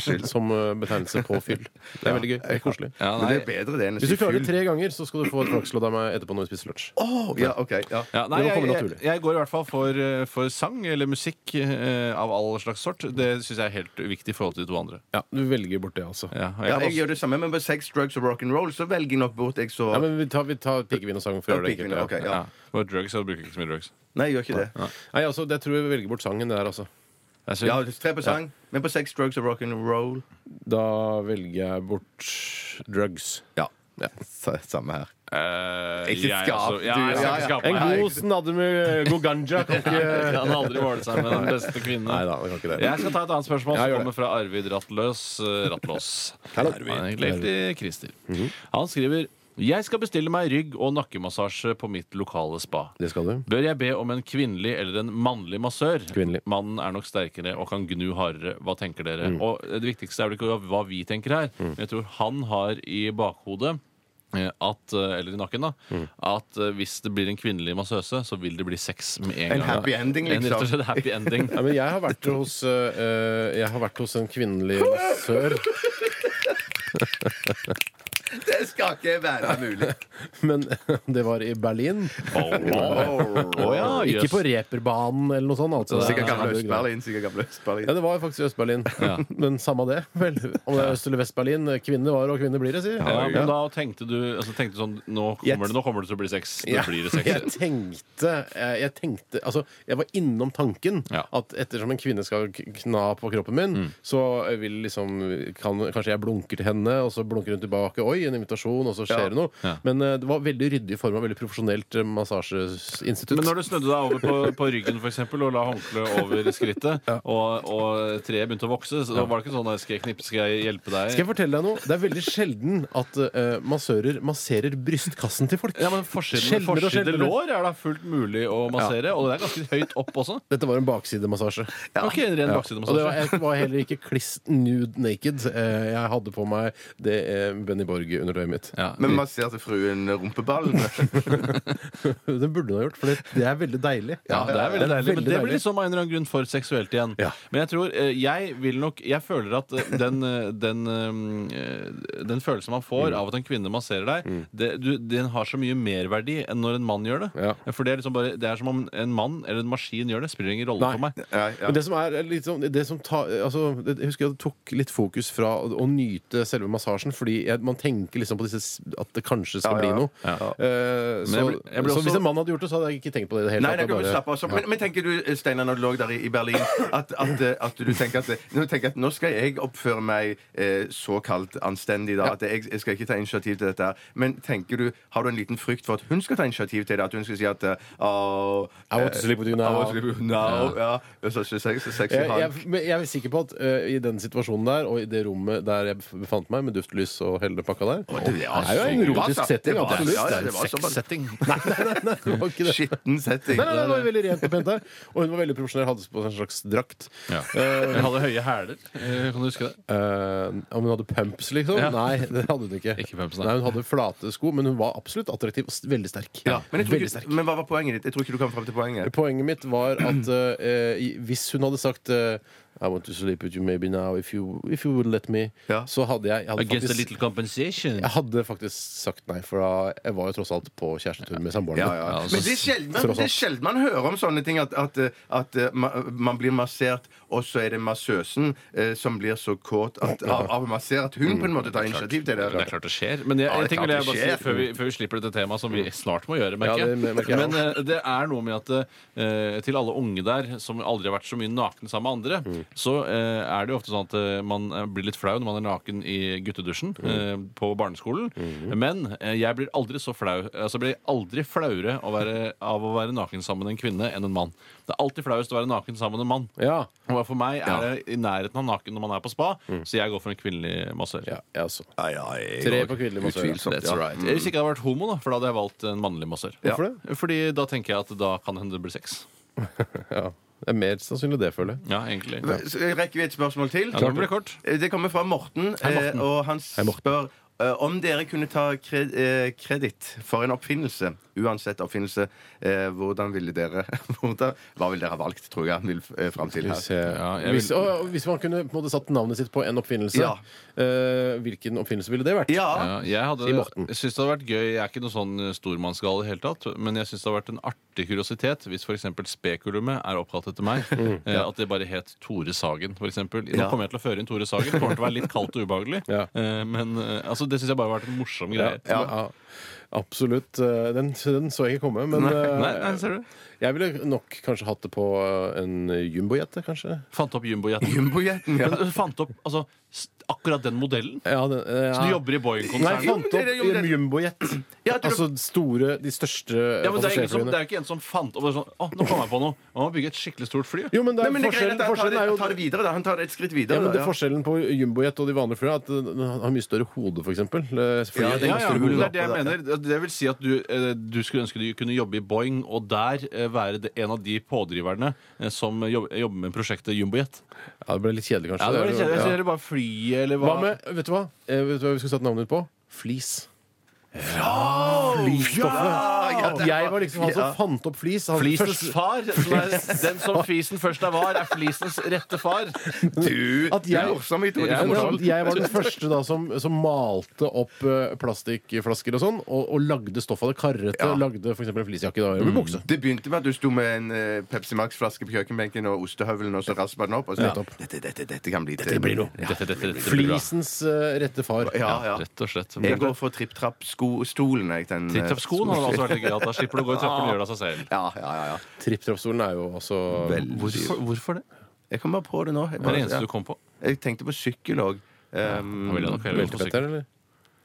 Speaker 1: sendingen som eh, betegnelse på fyll. Det er veldig gøy. Det er koselig.
Speaker 3: ja,
Speaker 2: Men det er
Speaker 3: nei.
Speaker 2: bedre det enn å
Speaker 1: Hvis
Speaker 2: si
Speaker 1: du klarer det
Speaker 2: full.
Speaker 1: tre ganger, så skal du få et flakslodd av meg etterpå når vi spiser lunsj.
Speaker 2: Åh, ja, ok. Ja.
Speaker 3: Ja, nei,
Speaker 1: Det må
Speaker 3: jeg,
Speaker 1: komme
Speaker 3: jeg,
Speaker 1: naturlig.
Speaker 3: jeg går i hvert fall for, eh, for sang eller musikk eh, av all slags sort. Det syns jeg er helt uviktig i forhold til de to andre.
Speaker 1: Ja, du velger bort det, altså.
Speaker 3: Ja, og
Speaker 2: Ja, jeg
Speaker 3: jeg,
Speaker 2: gjør det samme, men på sex, drugs og rock'n'roll så velger jeg nok bort jeg så
Speaker 1: Ja, men vi tar, vi tar pikevin og sang for å gjøre det enkelt.
Speaker 2: Pikvin,
Speaker 1: Ja.
Speaker 2: ok, ja.
Speaker 3: ja. Og drugs, jeg bruker ikke så mye drugs.
Speaker 2: Nei, jeg gjør ikke det.
Speaker 1: Nei, altså, jeg tror jeg velger bort sangen der, altså.
Speaker 3: Det er synd.
Speaker 2: Ja, tre på sang, men på sex, drugs og rock'n'roll
Speaker 1: Da velger jeg bort drugs.
Speaker 2: Ja. Samme her.
Speaker 3: Eh,
Speaker 2: Ikke
Speaker 3: jeg
Speaker 2: skap,
Speaker 3: også- Ja,
Speaker 2: du.
Speaker 3: jeg
Speaker 2: Ja,
Speaker 3: skal
Speaker 2: ja.
Speaker 3: ikke skape
Speaker 1: En
Speaker 3: meg.
Speaker 1: god snadde med god ganja kan
Speaker 3: Jeg
Speaker 1: ikke
Speaker 3: kan aldri måle seg med den beste kvinnen.
Speaker 1: Nei da, det kan ikke det.
Speaker 3: Jeg skal ta et annet spørsmål
Speaker 1: Ja,
Speaker 3: som
Speaker 1: gjør
Speaker 3: kommer fra Arvid Rattløs. eh, Rattlås. Han er egentlig helt i Christer. Han skriver Jeg skal bestille meg rygg- og nakkemassasje på mitt lokale spa.
Speaker 1: Det skal du.
Speaker 3: Bør jeg be om en kvinnelig eller en mannlig massør?
Speaker 1: Kvinnelig.
Speaker 3: Mannen er nok sterkere og kan gnu hardere. Hva tenker dere? Og Det viktigste er vel ikke hva vi tenker her, men jeg tror han har i bakhodet eh, at, eh, eller i nakken, da. At eh, hvis det blir en kvinnelig massøse, så vil det bli sex med en gang.
Speaker 2: En happy ending,
Speaker 3: En rett og
Speaker 2: liksom.
Speaker 3: slett happy ending.
Speaker 1: Nei, men jeg har vært hos, eh, jeg har vært hos en kvinnelig massør.
Speaker 2: Det skal ikke være mulig.
Speaker 1: Men det var i Berlin.
Speaker 2: Åh.
Speaker 3: Å ja,
Speaker 1: Ikke
Speaker 3: jøs.
Speaker 1: på reperbanen eller noe sånt. Altså.
Speaker 2: Sikkert gamle
Speaker 1: Det er-
Speaker 2: Øst-Berlin. Sikkert gamle Øst-Berlin.
Speaker 1: Ja, det var faktisk i Øst-Berlin.
Speaker 3: Ja.
Speaker 1: Men samme det, vel. Om det er Øst- eller Vest-Berlin. Kvinner var og kvinner blir det, sier
Speaker 3: Ja,
Speaker 1: Ja.
Speaker 3: men da tenkte du, altså, tenkte du sånn Nå
Speaker 1: Jeg-
Speaker 3: kommer, det, nå kommer det til å bli sex. Nå
Speaker 1: Ja.
Speaker 3: blir det
Speaker 1: Jeg
Speaker 3: sex.
Speaker 1: tenkte, eh, jeg tenkte Altså, jeg var innom tanken
Speaker 3: Ja. Mm.
Speaker 1: at ettersom en kvinne skal k- kna på kroppen min, så vil liksom kan, Kanskje jeg blunker til henne, og så blunker hun tilbake. Oi, en invitasjon, og så skjer
Speaker 2: Ja.
Speaker 1: det noe.
Speaker 3: Ja.
Speaker 1: Men eh, det var veldig ryddig form av veldig profesjonelt eh, massasjeinstitutt.
Speaker 3: Men når du snudde deg over på, på ryggen for eksempel, og la håndkleet over skrittet, og, og treet begynte å vokse, så da var det ikke sånn Skal jeg knippe, skal jeg hjelpe deg?
Speaker 1: Skal jeg fortelle deg noe? Det er veldig sjelden at eh, massører masserer brystkassen til folk.
Speaker 3: Ja, men Forsiden,
Speaker 1: Sjeldnere og
Speaker 3: forsiden
Speaker 1: sjeldnere.
Speaker 3: lår er da fullt mulig å massere, og det er ganske høyt opp også.
Speaker 1: Dette var en baksidemassasje.
Speaker 3: Ok,
Speaker 1: Og
Speaker 3: en ren
Speaker 1: det var,
Speaker 3: baksidemassasje.
Speaker 1: jeg var heller ikke kliss nude naked. Eh, jeg hadde på meg det eh, Benny Borg-undertøyet mitt.
Speaker 3: Ja.
Speaker 2: Men masserte fruen rumpeballen?
Speaker 1: Den burde hun ha gjort, for det- det er veldig deilig.
Speaker 3: Ja, det er veldig deilig, men det blir
Speaker 1: deilig.
Speaker 3: liksom av en eller annen grunn for seksuelt igjen.
Speaker 1: Ja.
Speaker 3: Men jeg tror, eh, jeg vil nok Jeg føler at eh, den, eh, den, eh, den følelsen man får av at en kvinne masserer deg, det, du, den har så mye merverdi enn når en mann gjør det.
Speaker 1: Ja.
Speaker 3: For det er liksom bare Det er som om en mann eller en maskin gjør det. Spiller ingen rolle
Speaker 1: Nei.
Speaker 3: for meg.
Speaker 2: Ja, ja.
Speaker 1: Men det som er litt sånn det som tar- altså, det- Jeg husker jeg tok litt fokus fra å, å nyte selve massasjen, fordi jeg, man tenker liksom på disse s- at det kanskje skal
Speaker 2: Ja, ja,
Speaker 1: bli noe.
Speaker 3: ja.
Speaker 1: Eh,
Speaker 3: Men jeg
Speaker 1: så,
Speaker 3: blir- jeg blir
Speaker 1: så
Speaker 3: også-
Speaker 1: hvis en mann hadde gjort det, så hadde jeg ikke tenkt på det i det hele
Speaker 2: Nei, nei,
Speaker 1: tatt.
Speaker 2: du
Speaker 1: Jeg
Speaker 2: må
Speaker 1: bare-
Speaker 2: slappe av. Så- Men, men tenker du, eh, Steinar, når du lå der i, i Berlin, at, at, eh, at du tenker at eh, nå, tenker jeg at nå skal jeg oppføre meg eh, såkalt anstendig, da. At jeg, jeg skal ikke ta initiativ til dette. her. Men tenker du, har du en liten frykt for at hun skal ta initiativ til det? At hun skal si at eh, «Åh, eh,
Speaker 1: I want to sleep with you now».
Speaker 2: I want to sleep with you now. Ja. Så, så, så, så, så,
Speaker 1: jeg, jeg, men jeg er sikker på at ø, i den situasjonen der, og i det rommet der jeg befant meg, med duftlys og hele den pakka der
Speaker 2: det er
Speaker 1: jo
Speaker 2: så-
Speaker 1: en
Speaker 2: Det
Speaker 1: erotisk
Speaker 2: var-
Speaker 1: setting,
Speaker 2: det var-
Speaker 1: absolutt.
Speaker 2: ja, ja, det var
Speaker 3: sånn.
Speaker 2: såpass.
Speaker 1: sexsetting. Nei, nei, nei, nei, det var ikke det.
Speaker 2: Skitten setting.
Speaker 1: Nei, nei, nei, det var veldig rent og pent der. Og hun var veldig profesjonell, hadde på seg en slags drakt.
Speaker 3: Jeg hadde høye hæler. eh, Kan du huske det?
Speaker 1: Eh, om hun hadde pumps, liksom?
Speaker 3: Ja.
Speaker 1: Nei, det hadde hun ikke.
Speaker 3: Ikke pumps, nei.
Speaker 1: nei, Hun hadde flate sko, men hun var absolutt attraktiv og s- veldig sterk.
Speaker 2: Ja, men, jeg tror
Speaker 1: veldig
Speaker 2: ikke, men hva var poenget ditt? Jeg tror ikke du kom fram til poenget.
Speaker 1: Poenget mitt var at eh, i- hvis hun hadde sagt eh, I want to sleep with you maybe now if you, if you would let me.
Speaker 2: Ja.
Speaker 1: Så hadde jeg, jeg hadde faktisk
Speaker 3: compensation.
Speaker 1: jeg hadde faktisk sagt nei, for da, jeg var jo tross alt på kjærestetur med samboeren
Speaker 2: Ja,
Speaker 1: min.
Speaker 2: ja.
Speaker 3: altså,
Speaker 2: Men det er sjelden man,
Speaker 1: tross alt.
Speaker 2: det er sjelden man hører om sånne ting. At, at, at eh, ma- man blir massert, og så er det massøsen eh, som blir så kåt at, av, av å massere at hun på en måte tar initiativ til det.
Speaker 3: Det er klart det skjer. Men jeg,
Speaker 2: Ja,
Speaker 3: jeg
Speaker 2: det er
Speaker 3: tenker
Speaker 2: klart
Speaker 3: vil jeg
Speaker 2: det
Speaker 3: bare si,
Speaker 2: skjer.
Speaker 3: før vi, før vi slipper dette temaet, som vi snart må gjøre, merker
Speaker 1: Ja,
Speaker 3: jeg.
Speaker 1: det merker jeg
Speaker 3: Men eh, det er noe med at eh, til alle unge der som aldri har vært så mye nakne sammen med andre,
Speaker 2: Mm.
Speaker 3: så eh, er det jo ofte sånn at eh, man eh, blir litt flau når man er naken i guttedusjen
Speaker 2: Mm.
Speaker 3: eh, på barneskolen. Men eh, jeg blir aldri så flau Altså jeg blir aldri flauere å være, av å være naken sammen med en kvinne enn en mann. Det er alltid flauest å være naken sammen med en mann.
Speaker 1: Ja.
Speaker 3: Og For meg er det i nærheten av naken når man er på spa, så jeg går for en kvinnelig massør.
Speaker 1: Ja, jeg også.
Speaker 2: Mm. Ja, ja, jeg
Speaker 1: Tre
Speaker 2: går-
Speaker 1: på kvinnelig massør.
Speaker 2: Utvilsomt.
Speaker 1: That's
Speaker 2: ja.
Speaker 1: right.
Speaker 3: Mm. Hvis ikke jeg hadde vært homo, da, for da hadde jeg valgt en mannlig massør.
Speaker 2: Ja.
Speaker 1: Hvorfor det?
Speaker 3: Fordi da tenker jeg at da kan det hende det blir sex.
Speaker 1: Ja. Det er mer sannsynlig det, føler jeg.
Speaker 3: Ja, egentlig. Ja,
Speaker 2: Så Rekker vi et spørsmål til?
Speaker 3: det blir kort.
Speaker 2: Eh, Det kommer fra Morten, eh, og han spør eh, om dere kunne ta kred, eh, kreditt for en oppfinnelse, uansett oppfinnelse, eh, hvordan ville dere hvordan, Hva ville dere ha valgt, tror jeg han vil eh, fram til
Speaker 1: Hvis,
Speaker 2: her.
Speaker 1: jeg,
Speaker 3: jeg vil-
Speaker 1: hvis, og, og hvis man kunne på en måte satt navnet sitt på en oppfinnelse,
Speaker 2: Ja.
Speaker 1: eh, hvilken oppfinnelse ville det vært?
Speaker 2: Ja,
Speaker 3: Ja, jeg hadde,
Speaker 1: Si Morten.
Speaker 3: jeg syns det hadde vært gøy. Jeg er ikke noen sånn stormannsgal i hele tatt, men jeg syns det hadde vært en artig kuriositet hvis f.eks. Spekulumet er oppkalt etter meg.
Speaker 1: Mm,
Speaker 3: eh, At det bare het Tore Sagen, f.eks. Nå
Speaker 2: Ja.
Speaker 3: kommer jeg til å føre inn Tore Sagen. Det kommer til å være litt kaldt og ubehagelig,
Speaker 1: Ja.
Speaker 3: Eh, men eh, altså, det syns jeg bare har vært en morsom greie.
Speaker 1: Ja, ja. Absolutt. Eh, Den, den så jeg ikke komme, men eh,
Speaker 3: Nei, nei, ser du?
Speaker 1: jeg ville nok kanskje hatt det på eh, en jumbojet, kanskje.
Speaker 3: Fant opp jumbojeten.
Speaker 2: Jumbojeten, ja.
Speaker 3: Men du fant opp altså, s- akkurat den modellen?
Speaker 1: Ja, den, eh,
Speaker 3: Så du
Speaker 1: ja.
Speaker 3: jobber i
Speaker 1: Nei, jeg
Speaker 3: Boeing-konsernet?
Speaker 1: fant opp
Speaker 2: Jo, det- jo, det-
Speaker 1: en jumbojet.
Speaker 2: Ja, du-
Speaker 1: Altså store, de største
Speaker 3: Ja, men det er, ingen som, det
Speaker 1: passasjerflyene.
Speaker 3: er jo ikke en som fant opp det sånn, å, nå kom jeg på noe. Man må bygge et skikkelig stort fly.
Speaker 1: Jo, men, det
Speaker 2: Nei,
Speaker 1: er,
Speaker 2: men det er greit
Speaker 1: forskjellen,
Speaker 2: at han tar det,
Speaker 1: forskjellen er
Speaker 2: han
Speaker 1: jo
Speaker 2: tar det videre. Da. Han tar det et skritt
Speaker 1: ja,
Speaker 2: videre.
Speaker 1: men det er
Speaker 2: da,
Speaker 1: Forskjellen på jumbojet og de vanlige flyene er at den har mye større hode, Eh, f.eks.
Speaker 2: Ja,
Speaker 1: Flyet
Speaker 2: det
Speaker 3: Ja,
Speaker 1: er
Speaker 3: ja,
Speaker 1: større
Speaker 3: men
Speaker 1: hode.
Speaker 3: det er det jeg mener. Det vil si at du, eh, du skulle ønske du kunne jobbe i Boeing, og der eh, være det- en av de pådriverne eh, som jobb- jobber med prosjektet Jumbojet.
Speaker 1: Ja, det ble litt kjedelig, kanskje.
Speaker 3: Ja, det var litt kjedelig.
Speaker 1: Ja.
Speaker 3: Jeg ser det bare flyet, eller hva?
Speaker 1: Hva med, vet du hva? Eh, Vet du hva vi skulle satt navnet ditt på? Flis. Flisstoffet. At jeg var liksom han som fant opp flis. Han
Speaker 3: Flisens
Speaker 1: første-
Speaker 3: far. Som er, den som fisen først er var, er flisens rette far.
Speaker 2: Du,
Speaker 1: At
Speaker 2: du er
Speaker 1: jeg-
Speaker 2: morsom i to
Speaker 1: Ja,
Speaker 2: ja,
Speaker 1: men at jeg var den første da som, som malte opp eh, plastikkflasker og sånn, og, og lagde stoff av det karrete.
Speaker 2: Ja.
Speaker 1: og Lagde f.eks. en fleecejakke da, eller bukse.
Speaker 2: Det begynte med at du sto med en eh, Pepsi Max-flaske på kjøkkenbenken og ostehøvelen, og så raspa den opp. Og så,
Speaker 1: Nettopp.
Speaker 2: dette, dette, dette kan bli til.
Speaker 1: Dette blir noe.
Speaker 3: Dette, dette, dette blir bra.
Speaker 1: Flisens eh, rette far.
Speaker 2: Ja, ja.
Speaker 3: Rett og slett.
Speaker 2: Jeg går for tripp-trapp-stolen. jeg, den, eh,
Speaker 3: Tritt-trapp-skoen
Speaker 1: altså.
Speaker 3: hadde også vært litt gøy. at Da slipper du å gå i trappen og gjøre det av seg selv.
Speaker 2: Ja, ja, ja, ja.
Speaker 1: Tripp-trapp-stolen er jo også
Speaker 2: Veldig dyr.
Speaker 3: hvorfor det?
Speaker 2: Jeg kommer på det nå. Jeg,
Speaker 3: Det er
Speaker 2: bare,
Speaker 3: det eneste
Speaker 2: ja.
Speaker 3: du kom på.
Speaker 2: jeg tenkte på sykkel òg. Um,
Speaker 3: Han ville nok heller gått på sykkel.
Speaker 1: Veltepetter, eller?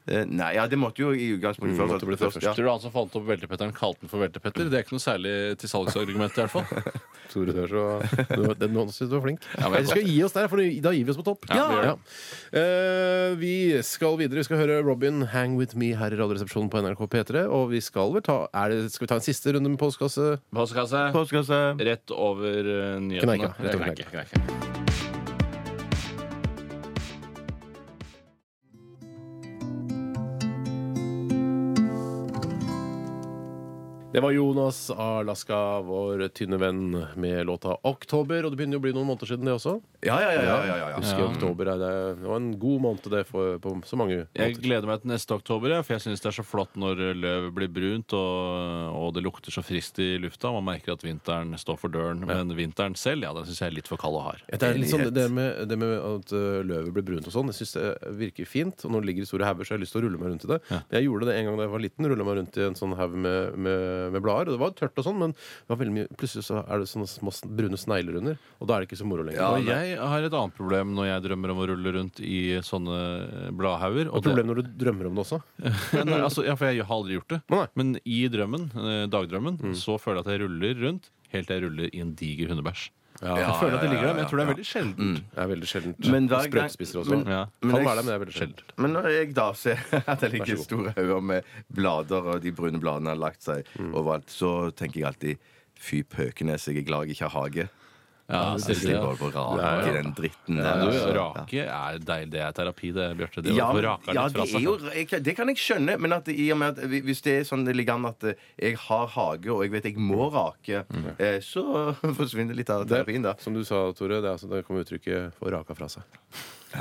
Speaker 2: eh, nei, ja, det måtte jo i utgangspunktet
Speaker 1: Mm, måtte bli det først.
Speaker 2: ja.
Speaker 3: Tror du han som fant opp veltepetteren, kalte den for veltepetter? Det er ikke noe særlig til salgsargument, i hvert fall.
Speaker 1: Tore Tørs og du- den noen synes du var flink.
Speaker 3: Ja, men-
Speaker 1: vi skal gi oss der, for da gir vi oss på topp.
Speaker 3: Ja, vi gjør det.
Speaker 1: Eh, vi skal videre. Vi skal høre Robin 'Hang With Me' her i Radioresepsjonen på NRK P3. Og vi skal vel ta er det, Skal vi ta en siste runde med postkasse?
Speaker 3: Postkasse
Speaker 2: Postkasse.
Speaker 3: rett over eh, nyhetene.
Speaker 1: Kneika, rett over
Speaker 3: Kneika, kneika.
Speaker 1: Det var Jonas Alaska, vår tynne venn, med låta 'Oktober'. Og det begynner jo å bli noen måneder siden, det også.
Speaker 2: Ja, ja, ja, ja, ja, ja.
Speaker 1: Husker oktober er det, det var en god måned, det, for, på så mange
Speaker 3: Jeg
Speaker 1: måter.
Speaker 3: gleder meg til neste oktober, ja, for jeg syns det er så flott når løv blir brunt og, og det lukter så friskt i lufta. Man merker at vinteren står for døren, men vinteren selv ja, den syns jeg er litt for kald og hard.
Speaker 1: Ja, Det er litt sånn, det med, det med at ø, løvet blir brunt og sånn, jeg syns det virker fint. Og når det ligger i store hauger, så har jeg lyst til å rulle meg rundt i det. Jeg gjorde det en gang da jeg var liten. Rulla meg rundt i en sånn haug med, med, med blader. Og det var tørt og sånn, men det var veldig mye, plutselig så er det sånne små s- brune snegler under. Og da er det ikke så moro lenger.
Speaker 2: Ja,
Speaker 3: Og jeg har et annet problem når jeg drømmer om å rulle rundt i sånne bladhauger.
Speaker 1: Og
Speaker 3: og det-
Speaker 1: Problem når du drømmer om det også.
Speaker 3: Ja, nei, altså, ja, for jeg har aldri gjort det.
Speaker 1: Nei.
Speaker 3: Men i drømmen, eh, dagdrømmen,
Speaker 2: Mm.
Speaker 3: så føler jeg at jeg ruller rundt helt til jeg ruller i en diger hundebæsj. jeg føler at det ligger der, men jeg tror det er veldig sjeldent.
Speaker 1: Det er veldig sjeldent.
Speaker 2: Men hver gang-
Speaker 1: Sprøytespiser også.
Speaker 2: men-
Speaker 3: Ja.
Speaker 1: Kan
Speaker 2: men jeg-
Speaker 1: være det, men det er veldig sjeldent.
Speaker 2: Men når jeg da ser at det ligger
Speaker 1: god.
Speaker 2: store hauger med blader, og de brune bladene har
Speaker 3: Mm.
Speaker 2: lagt seg overalt, så tenker jeg alltid Fy pøkenes, jeg er glad jeg ikke har hage. Altså,
Speaker 3: Ja,
Speaker 2: Jeg synes
Speaker 3: Silje.
Speaker 2: de går på rake i den dritten der.
Speaker 3: Du,
Speaker 2: altså.
Speaker 3: rake er deilig. Det er terapi, det, Bjarte. Det å
Speaker 2: Ja,
Speaker 3: få
Speaker 2: ja,
Speaker 3: raka litt fra
Speaker 2: det, er
Speaker 3: seg.
Speaker 2: jo, jeg- det kan jeg skjønne, men at i og med at vi- hvis det er sånn det ligger an at jeg har hage og jeg vet jeg må rake,
Speaker 3: Mm.
Speaker 2: eh, så forsvinner litt av terapien, da.
Speaker 1: Som du sa, Tore, det, er altså, det kommer uttrykket 'få raka fra seg'. Få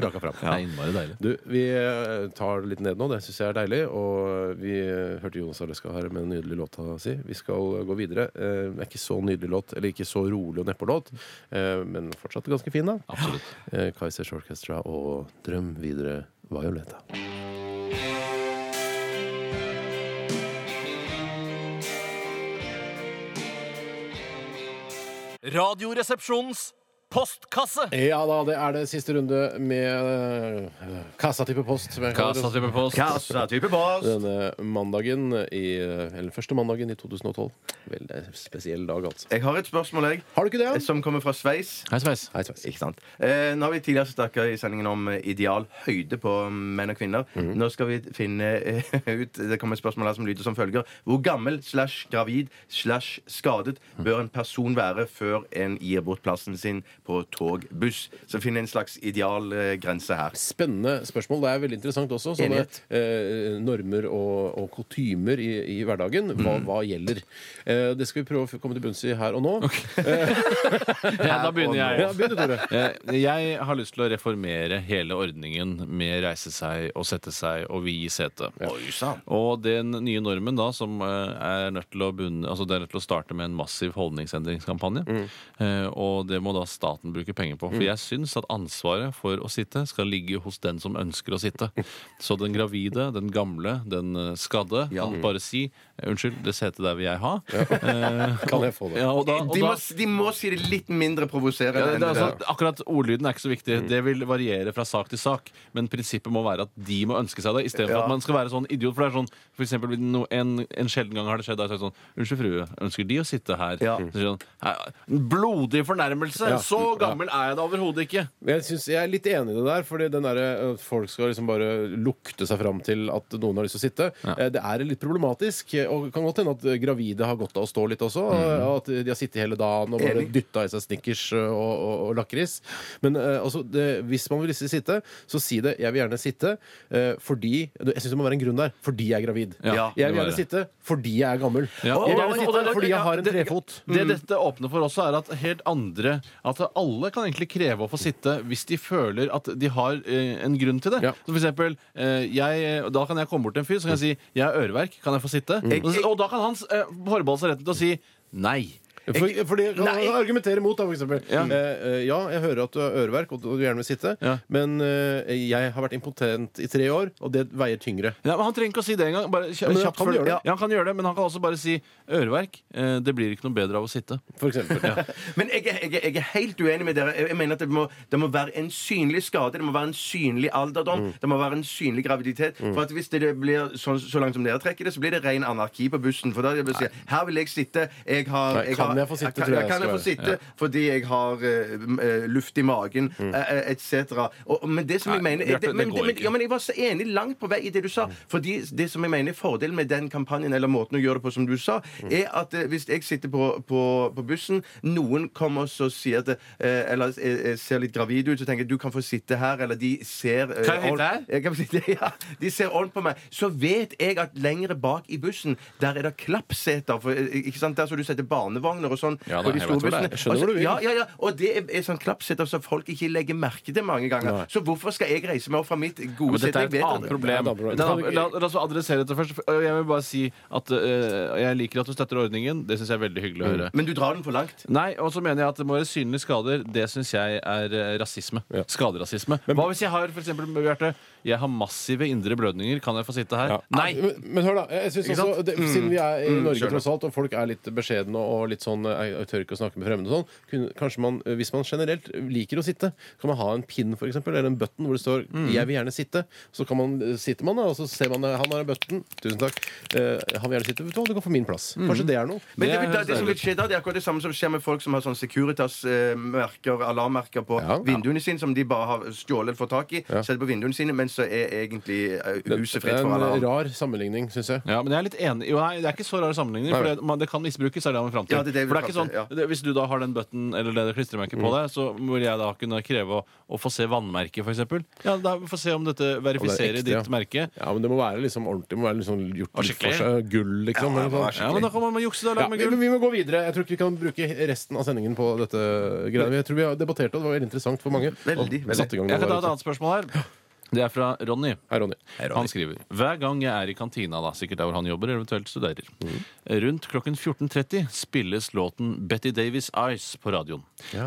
Speaker 1: raka fra
Speaker 3: Det er innmari deilig.
Speaker 1: Du, vi eh, tar det litt ned nå. Det syns jeg er deilig. Og vi eh, hørte Jonas Aleska her med den nydelige låta si. Vi skal gå videre. Eh, Det er ikke så nydelig låt, eller ikke så rolig og nedpå låt, eh, men fortsatt ganske fin, da.
Speaker 3: Absolutt.
Speaker 1: Eh, Kaizers Orchestra og Drøm videre Violetta.
Speaker 4: Radioresepsjonens postkasse.
Speaker 1: Ja da, det er det siste runde med eh, kassatype post. som jeg kaller det.
Speaker 3: Kassa type post.
Speaker 2: Kassa type post!
Speaker 1: Denne mandagen i eh, Eller første mandagen i 2012. Veldig spesiell dag, altså.
Speaker 2: Jeg har et spørsmål, jeg,
Speaker 1: Har du ikke det?
Speaker 2: eh,
Speaker 1: Jan?
Speaker 2: som kommer fra Sveis.
Speaker 3: Hei, Sveis.
Speaker 1: Hei, Sveis.
Speaker 2: Ikke sant? Eh, nå har vi tidligere snakka i sendingen om eh, ideal høyde på mm, menn og kvinner. Nå skal vi finne eh, ut Det kommer et spørsmål her som lyder som følger. Hvor gammel slash gravid slash skadet bør en person være før en gir bort plassen sin på tog, buss? Så finne en slags ideal eh, grense her.
Speaker 1: Spennende spørsmål. Det er veldig interessant også. Sånne
Speaker 2: Enighet.
Speaker 1: eh, normer og, og kutymer i, i hverdagen. Hva, hva gjelder? Eh, det skal vi prøve å komme til bunns i her og nå.
Speaker 3: Ja, da begynner jeg.
Speaker 1: Ja, begynn du, Tore.
Speaker 3: Eh, Jeg har lyst til å reformere hele ordningen med reise seg og sette seg og vi i setet.
Speaker 2: Oi sann!
Speaker 3: Og den nye normen da, som eh, er nødt til å, bunne, altså det er nødt til å starte med en massiv holdningsendringskampanje.
Speaker 1: Mm.
Speaker 3: Eh, Og det må da staten bruke penger på. For jeg syns at ansvaret for å sitte skal ligge hos den som ønsker å sitte. Så den gravide, den gamle, den eh, skadde kan bare si eh, unnskyld, det setet der vil jeg ha. Eh,
Speaker 1: Kan jeg få det?
Speaker 3: Ja, og da, og
Speaker 2: De må,
Speaker 3: da,
Speaker 2: de må si det litt mindre provoserende.
Speaker 3: ja, det,
Speaker 2: enn
Speaker 3: det er
Speaker 2: der.
Speaker 3: altså, akkurat ordlyden er ikke så viktig. Det vil variere fra sak til sak. Men prinsippet må være at de må ønske seg det, istedenfor for
Speaker 2: Ja.
Speaker 3: at man skal være sånn idiot. For det er sånn, for eksempel, no, en, en sjelden gang har det skjedd. da har jeg sagt sånn Unnskyld, frue. Ønsker De å sitte her?
Speaker 2: Ja.
Speaker 3: Så sier han, «Nei, en blodig fornærmelse!
Speaker 1: Ja.
Speaker 3: Så gammel er jeg da overhodet ikke!
Speaker 1: Men Jeg, synes, jeg er litt enig i det der, fordi den derre at folk skal liksom bare lukte seg fram til at noen har lyst til å sitte. Eh, Det er litt problematisk. eh, Og det kan godt hende at eh, gravide har godt av å stå litt også. eh,
Speaker 3: Mhm.
Speaker 1: og At de har sittet hele dagen og bare
Speaker 2: Enig.
Speaker 1: dytta i seg Snickers eh, og, og, og lakris. Men eh, altså, det, hvis man vil sitte, så si det. Jeg vil gjerne sitte eh, fordi Jeg syns det må være en grunn der. Fordi jeg er gravid.
Speaker 2: Ja,
Speaker 1: jeg vil
Speaker 3: det må
Speaker 1: gjerne
Speaker 3: være.
Speaker 1: sitte fordi jeg er gammel. Jeg
Speaker 3: Ja.
Speaker 1: vil
Speaker 3: Og- og-
Speaker 1: gjerne
Speaker 3: og-
Speaker 1: sitte
Speaker 3: og-
Speaker 1: fordi jeg har en
Speaker 3: det-
Speaker 1: trefot.
Speaker 3: Det dette åpner for også, er at helt andre At alle kan egentlig kreve å få sitte hvis de føler at de har eh, en grunn til det.
Speaker 1: Ja.
Speaker 3: Så for eksempel, eh, jeg, og da kan jeg komme bort til en fyr så kan jeg si 'Jeg har øreverk, kan jeg få sitte?'
Speaker 1: Mm.
Speaker 3: Og, så- og da kan hans eh, forbeholde seg retten til å si nei.
Speaker 1: For, fordi kan
Speaker 2: Nei.
Speaker 1: man argumentere mot, da, for eksempel.
Speaker 3: Ja.
Speaker 1: Ja. ja, jeg hører at du har øreverk, og du og du gjerne vil sitte,
Speaker 3: Ja.
Speaker 1: men eh, jeg har vært impotent i tre år, og det veier tyngre.
Speaker 3: Ja, men Han trenger ikke å si det engang. Bare kj-
Speaker 1: men han
Speaker 3: kjapt
Speaker 1: kan
Speaker 3: før-
Speaker 1: gjøre det.
Speaker 3: Ja, han kan gjøre det, men han kan også bare si 'øreverk'. Eh, det blir ikke noe bedre av å sitte.
Speaker 1: For eksempel.
Speaker 2: Men jeg, er- jeg, er- jeg er helt uenig med dere. Jeg jeg mener at det må, det må være en synlig skade. Det må være en synlig alderdom.
Speaker 1: Mm.
Speaker 2: Det må være en synlig graviditet. For at hvis det blir så, så langt som dere trekker det, så blir det ren anarki på bussen. For da er det bare å si Her vil jeg sitte. Jeg har,
Speaker 1: Nei,
Speaker 2: jeg
Speaker 1: kan
Speaker 2: har,
Speaker 1: jeg få sitte,
Speaker 2: kan,
Speaker 1: tror jeg
Speaker 2: kan
Speaker 1: skal
Speaker 2: jeg få sitte fordi jeg har eh, m- eh, luft i magen,
Speaker 1: Mm.
Speaker 2: eh, eh, etc. Og- og- Men det som jeg
Speaker 3: Nei,
Speaker 2: mener
Speaker 3: Bjarte,
Speaker 2: det,
Speaker 3: det
Speaker 2: men,
Speaker 3: går
Speaker 2: men,
Speaker 3: ikke.
Speaker 2: ja, men jeg var så enig langt på vei i det du sa. Fordi det som jeg mener er fordelen med den kampanjen, eller måten å gjøre det på, som du sa,
Speaker 3: Mm.
Speaker 2: er at eh, hvis jeg sitter på, på, på bussen, noen kommer og sier at eh, Eller eh, eh, ser litt gravid ut, så tenker jeg du kan få sitte her, eller de ser eh,
Speaker 3: Kan jeg sitte
Speaker 2: ordent-
Speaker 3: her?
Speaker 2: Jeg kan få sitte, ja, de ser ordent på meg. Så vet jeg at lengre bak i bussen, der er det klappseter. For, eh, ikke sant? Der så du setter barnevogner og sånn
Speaker 3: Ja da,
Speaker 2: på de
Speaker 3: jeg vet
Speaker 2: store
Speaker 3: hvor det er.
Speaker 1: Jeg
Speaker 2: bussene. Altså,
Speaker 1: skjønner hvor du vil.
Speaker 2: Ja, ja, ja. Og det er, er sånn klappseter som folk ikke legger merke til mange ganger.
Speaker 1: Nei.
Speaker 2: Så hvorfor skal jeg reise meg opp fra mitt
Speaker 3: Ja,
Speaker 2: gode
Speaker 3: Men dette
Speaker 2: sete?
Speaker 3: er et annet
Speaker 1: Ja,
Speaker 3: problem.
Speaker 1: det er et annet problem.
Speaker 3: Det er et annet- La, la oss adressere dette først. Og Jeg vil bare si at eh, jeg liker at du støtter ordningen. Det syns jeg er veldig hyggelig å høre.
Speaker 2: Men du drar den for langt.
Speaker 3: Nei, og så mener jeg at det må være synlige skader. Det syns jeg er eh, rasisme. Skaderasisme. Hva hvis jeg har for eksempel, Bjarte, jeg har massive indre blødninger, kan jeg få sitte her? Nei!
Speaker 1: Men, men hør, da. jeg synes
Speaker 3: Ikke
Speaker 1: også,
Speaker 3: sant?
Speaker 1: det,
Speaker 2: Mm.
Speaker 1: Siden vi er i Norge,
Speaker 2: skjønner.
Speaker 1: tross alt, og folk er litt beskjedne og litt sånn eh, Jeg tør ikke å snakke med fremmede og sånn, kun- kanskje man, eh, hvis man generelt liker å sitte, kan man ha en pin, for eksempel, eller en button hvor det står
Speaker 2: Mm.
Speaker 1: 'Jeg vil gjerne sitte'. Så kan man, eh, sitter man, da, og så ser man eh, 'Han har en button', tusen takk. Eh, 'Han vil gjerne sitte', vet du hva, du kan få min plass. Kanskje det er noe.
Speaker 2: Mm.
Speaker 3: Det
Speaker 2: Men det,
Speaker 3: er
Speaker 2: vil- det, det som
Speaker 3: deilig.
Speaker 2: vil skje da, det er akkurat det samme som skjer med folk som har sånn Securitas-merker, alarmmerker på
Speaker 1: Ja.
Speaker 2: vinduene sine, som de bare har stjålet eller fått tak i, setter på vinduene sine, mens så er egentlig eh, huset
Speaker 1: Det
Speaker 2: fritt
Speaker 1: er
Speaker 2: for alle
Speaker 1: en
Speaker 2: andre.
Speaker 1: rar sammenligning, syns jeg.
Speaker 3: Ja, men jeg er litt enig Jo, nei, Det er ikke så rar sammenligning. For
Speaker 1: Nei.
Speaker 3: det, man, det kan misbrukes. Er det man er frem til.
Speaker 2: Ja, det er det vi
Speaker 3: for det er ikke
Speaker 2: frem
Speaker 3: sånn,
Speaker 2: til, ja.
Speaker 3: det, Hvis du da har den button eller det klistremerket
Speaker 1: Mm.
Speaker 3: på deg, så vil jeg da kunne kreve å, å få se vannmerket, f.eks. Ja, da får vi se om dette verifiserer
Speaker 1: ekte,
Speaker 3: ditt
Speaker 1: ja.
Speaker 3: merke.
Speaker 1: Ja, men Det må være liksom ordentlig. Det må være liksom gjort litt for
Speaker 3: Og skikkelig.
Speaker 1: seg. Gull, liksom.
Speaker 2: Ja,
Speaker 1: eller
Speaker 2: det
Speaker 1: noe
Speaker 2: var
Speaker 1: sånt.
Speaker 2: skikkelig.
Speaker 3: Ja, men Da kan man jukse det og
Speaker 1: Ja,
Speaker 3: lage med
Speaker 1: men
Speaker 3: gull.
Speaker 1: vi må gå videre. Jeg tror ikke vi kan bruke resten av sendingen på dette. greiene. Jeg tror vi har debattert, og det var veldig interessant for mange.
Speaker 2: Veldig,
Speaker 1: Og satt i gang
Speaker 3: Jeg
Speaker 1: noe
Speaker 3: kan ta
Speaker 1: der
Speaker 3: et
Speaker 1: ute.
Speaker 3: annet spørsmål her. Det er fra Ronny.
Speaker 1: Hei, Ronny.
Speaker 3: Han skriver Hver gang jeg er i kantina, da, sikkert der hvor han jobber, eller eventuelt studerer, rundt klokken 14.30 spilles låten Betty Davis Eyes på radioen.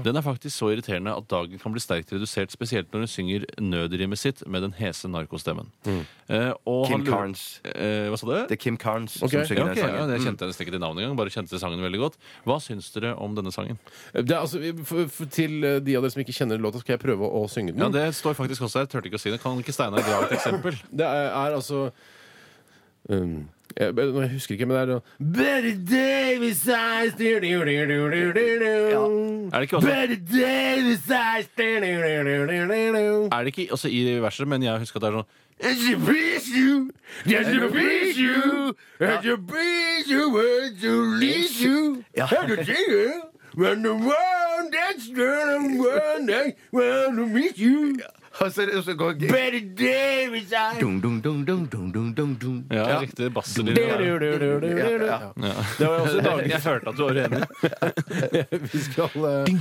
Speaker 3: Den er faktisk så irriterende at dagen kan bli sterkt redusert, spesielt når hun synger nødrimet sitt med den hese narkostemmen. Eh, og han
Speaker 2: Kim
Speaker 3: lurer-
Speaker 2: Carnes.
Speaker 3: Eh, hva sa du?
Speaker 2: Det er Kim Carnes
Speaker 1: Ok,
Speaker 2: som
Speaker 3: Ja,
Speaker 2: synger
Speaker 3: ok,
Speaker 2: den
Speaker 3: ja,
Speaker 2: sangen.
Speaker 3: jeg kjente hennes ikke til navnet engang, bare kjente sangen veldig godt. Hva syns dere om denne sangen?
Speaker 1: Det er, altså, for, for, til eh, de av dere som ikke kjenner låta, skal jeg prøve å, å synge den.
Speaker 3: Ja,
Speaker 1: det
Speaker 3: Det står faktisk også her. Tørte ikke å si det. Kan ikke Steinar dra et eksempel?
Speaker 1: er, er altså um, jeg, jeg husker ikke, men det er noe- Better Davis eyes du, du, du, du, du, du, du.
Speaker 3: Er det ikke også-
Speaker 1: Better Davis eyes du, du, du, du, du, du.
Speaker 3: Er det ikke også i verset, men jeg husker at det er sånn
Speaker 1: It's a piece you, it's a piece you, it's a piece you, it's a lease you,
Speaker 2: Ja.
Speaker 1: it's a thing you, when the one that's gonna one day wanna meet you.
Speaker 2: Og så, og så går
Speaker 1: Better Davis er eyes.
Speaker 2: dung, dung, dung, dung, dung, dung, dung, dung.
Speaker 3: Ja,
Speaker 1: Ja.
Speaker 3: riktig
Speaker 1: Du,
Speaker 3: basselyd.
Speaker 1: du, du, du, du, du. Ja. Det var jo også laget
Speaker 3: Jeg følte at du var enig.
Speaker 1: Vi skal eh,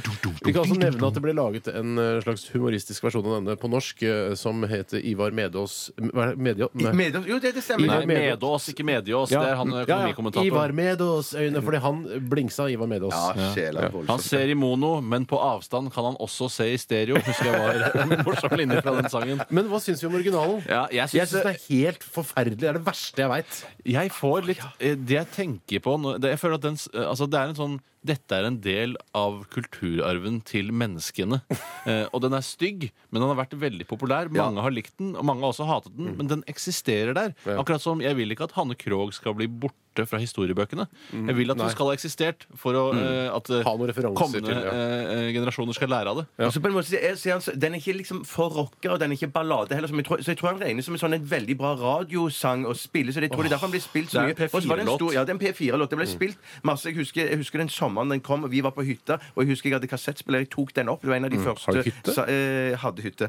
Speaker 1: Vi kan også nevne at det ble laget en eh, slags humoristisk versjon av denne på norsk eh, som heter Ivar Medås Hva er det? Medio? Nei.
Speaker 2: Medås- Jo, det, det stemmer.
Speaker 3: Nei,
Speaker 1: Ivar Medås.
Speaker 3: Medås, ikke Mediås. Det er han eh,
Speaker 1: Ja, ja. Ivar
Speaker 3: økonomikommentatoren.
Speaker 1: Medås øyne, fordi han blingsa Ivar Medås.
Speaker 2: Ja, Ah, sjela, voldsomt.
Speaker 3: Han ser i mono, men på avstand kan han også se i stereo. Husker jeg var en morsom linje fra den sangen.
Speaker 1: Men hva syns vi om originalen?
Speaker 3: Ja, jeg
Speaker 1: Jeg
Speaker 3: synes
Speaker 1: syns det er helt forferdelig. Det er det verste jeg veit.
Speaker 3: Jeg får litt eh, Det jeg tenker på nå- det, Jeg føler at den, s- eh, altså det er en sånn Dette er en del av kulturarven til menneskene. Eh, og den er stygg, men den har vært veldig populær. Mange har likt den, og mange har også hatet
Speaker 1: Mm.
Speaker 3: den, men den eksisterer der. Akkurat som jeg vil ikke at Hanne Krogh skal bli borte fra historiebøkene. Jeg vil at hun skal ha eksistert for å, eh, at eh,
Speaker 1: Mm. Ha noen referanser
Speaker 3: kommende
Speaker 1: til, ja.
Speaker 3: eh, eh, generasjoner skal lære av det.
Speaker 2: Og så på en måte, så er, så er han, så- den er ikke liksom for rocker, og den er ikke ballade heller. Som jeg tror, så jeg tror han regnes som en sånn en veldig bra radiosang å spille. Så jeg tror det er derfor han blir spilt så mye.
Speaker 3: Det er en
Speaker 2: Og så var det en
Speaker 3: P4-låt.
Speaker 2: stor- Ja, det er en P4-låt. Det ble spilt masse. Jeg husker, jeg husker den sommeren den kom, og vi var på hytta, og jeg husker jeg hadde kassettspiller. Jeg tok den opp. Det var en av de første
Speaker 1: Har du hytte?
Speaker 2: sa- eh, hadde hytte.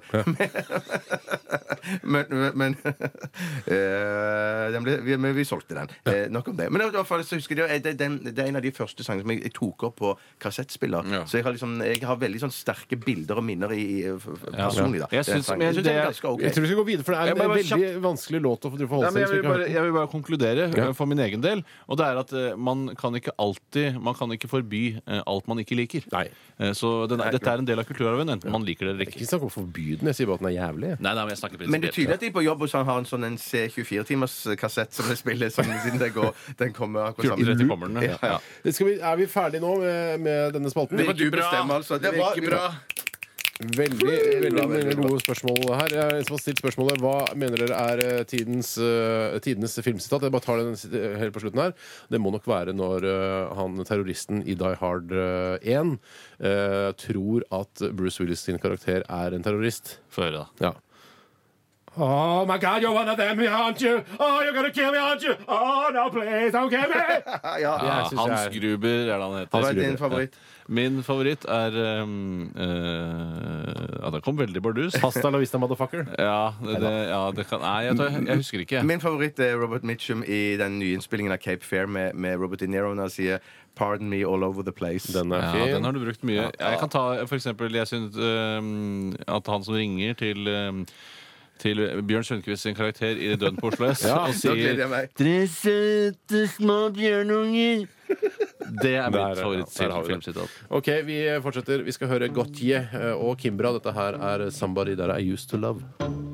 Speaker 2: men men, men eh, den ble, vi, men vi solgte den. Eh, nok om det. Men i hvert fall så husker jeg, eh, det, det, det er en av de første sangene som jeg, jeg tok opp på kassettspiller.
Speaker 3: Ja.
Speaker 2: Så jeg har, liksom, jeg har veldig sånn sterke bilder og minner i, i, f- f- personlig. Da.
Speaker 3: Jeg syns-
Speaker 2: Den sangen.
Speaker 3: men jeg syns
Speaker 2: jeg syns den
Speaker 3: det
Speaker 2: er
Speaker 3: er-
Speaker 2: ganske ok.
Speaker 1: Jeg tror vi skal gå videre, for det er
Speaker 3: Jeg
Speaker 1: en
Speaker 3: bare- bare
Speaker 1: veldig vanskelig låt å drive og
Speaker 3: Ja,
Speaker 1: holde
Speaker 3: men
Speaker 1: seg
Speaker 3: jeg,
Speaker 1: til.
Speaker 3: vil
Speaker 1: hvis
Speaker 3: bare,
Speaker 1: vi ikke har hørt den.
Speaker 3: jeg vil bare konkludere eh, for min egen del. Og det er at eh, man kan ikke alltid Man kan ikke forby eh, alt man ikke liker.
Speaker 1: Nei.
Speaker 3: Eh, så den, dette er en del av kulturarven, enten man liker det eller
Speaker 1: Ikke
Speaker 3: ikke.
Speaker 1: snakk om å forby den. Jeg sier bare at den er jævlig. jeg.
Speaker 3: Nei, nei, men jeg snakker
Speaker 2: Men det er
Speaker 3: prinsipielt.
Speaker 2: tydelig at de på jobb hos han har en sånn en C24-timers-kassett som de spiller sånn siden det går. Den kommer akkurat
Speaker 3: 14.30
Speaker 2: sammen.
Speaker 3: kommer den, ja. Ja.
Speaker 1: Skal vi, er vi ferdige nå med, med denne spalten?
Speaker 2: Det var du bestemmer, altså. Det var bra.
Speaker 1: Veldig veldig,
Speaker 2: Bra, veldig bra.
Speaker 1: gode spørsmål her. Jeg er en som har stilt spørsmålet Hva mener dere er eh, tidens, eh, tidenes filmsitat? Jeg bare tar den sit- helt på slutten her. Det må nok være når eh, han terroristen i Die Hard eh, 1 eh, tror at Bruce Willis sin karakter er en terrorist.
Speaker 3: Få høre, da.
Speaker 1: Ja. Oh my god, you're one of them, aren't you? Oh, you're gonna kill me, aren't you? Oh, no, please, don't kill me!
Speaker 2: Ja, ja.
Speaker 3: Ja,
Speaker 1: Jeg synes
Speaker 3: Hans
Speaker 1: jeg er-
Speaker 3: Gruber er det han heter.
Speaker 2: Hva er din favoritt?
Speaker 3: Min favoritt er um, eh, Ja, det kom veldig bardus.
Speaker 1: Hasta la vista, motherfucker.
Speaker 3: Ja, det, det, ja, det kan Nei, jeg, tar, jeg husker ikke.
Speaker 2: Min favoritt er Robert Mitchum i den nye innspillingen av Cape Fair med, med Robert De Niro når han sier 'Pardon me all over the place'.
Speaker 1: Den er
Speaker 3: Ja,
Speaker 1: fin.
Speaker 3: den har du brukt mye. Jeg kan ta for eksempel Jeg syns øhm, at han som ringer til øhm, til Bjørn Sundquist sin karakter i Døden på Oslo S og
Speaker 2: Nå gleder jeg
Speaker 3: sier
Speaker 2: meg.
Speaker 3: Tre søte små bjørnunger. Det
Speaker 1: Der, ja,
Speaker 3: er mitt
Speaker 1: der har vi det.
Speaker 3: favorittfilmsitat.
Speaker 1: Ok, vi eh, fortsetter. Vi skal høre Gotye og Kimbra. Dette her er 'Somebody That I Used To Love'.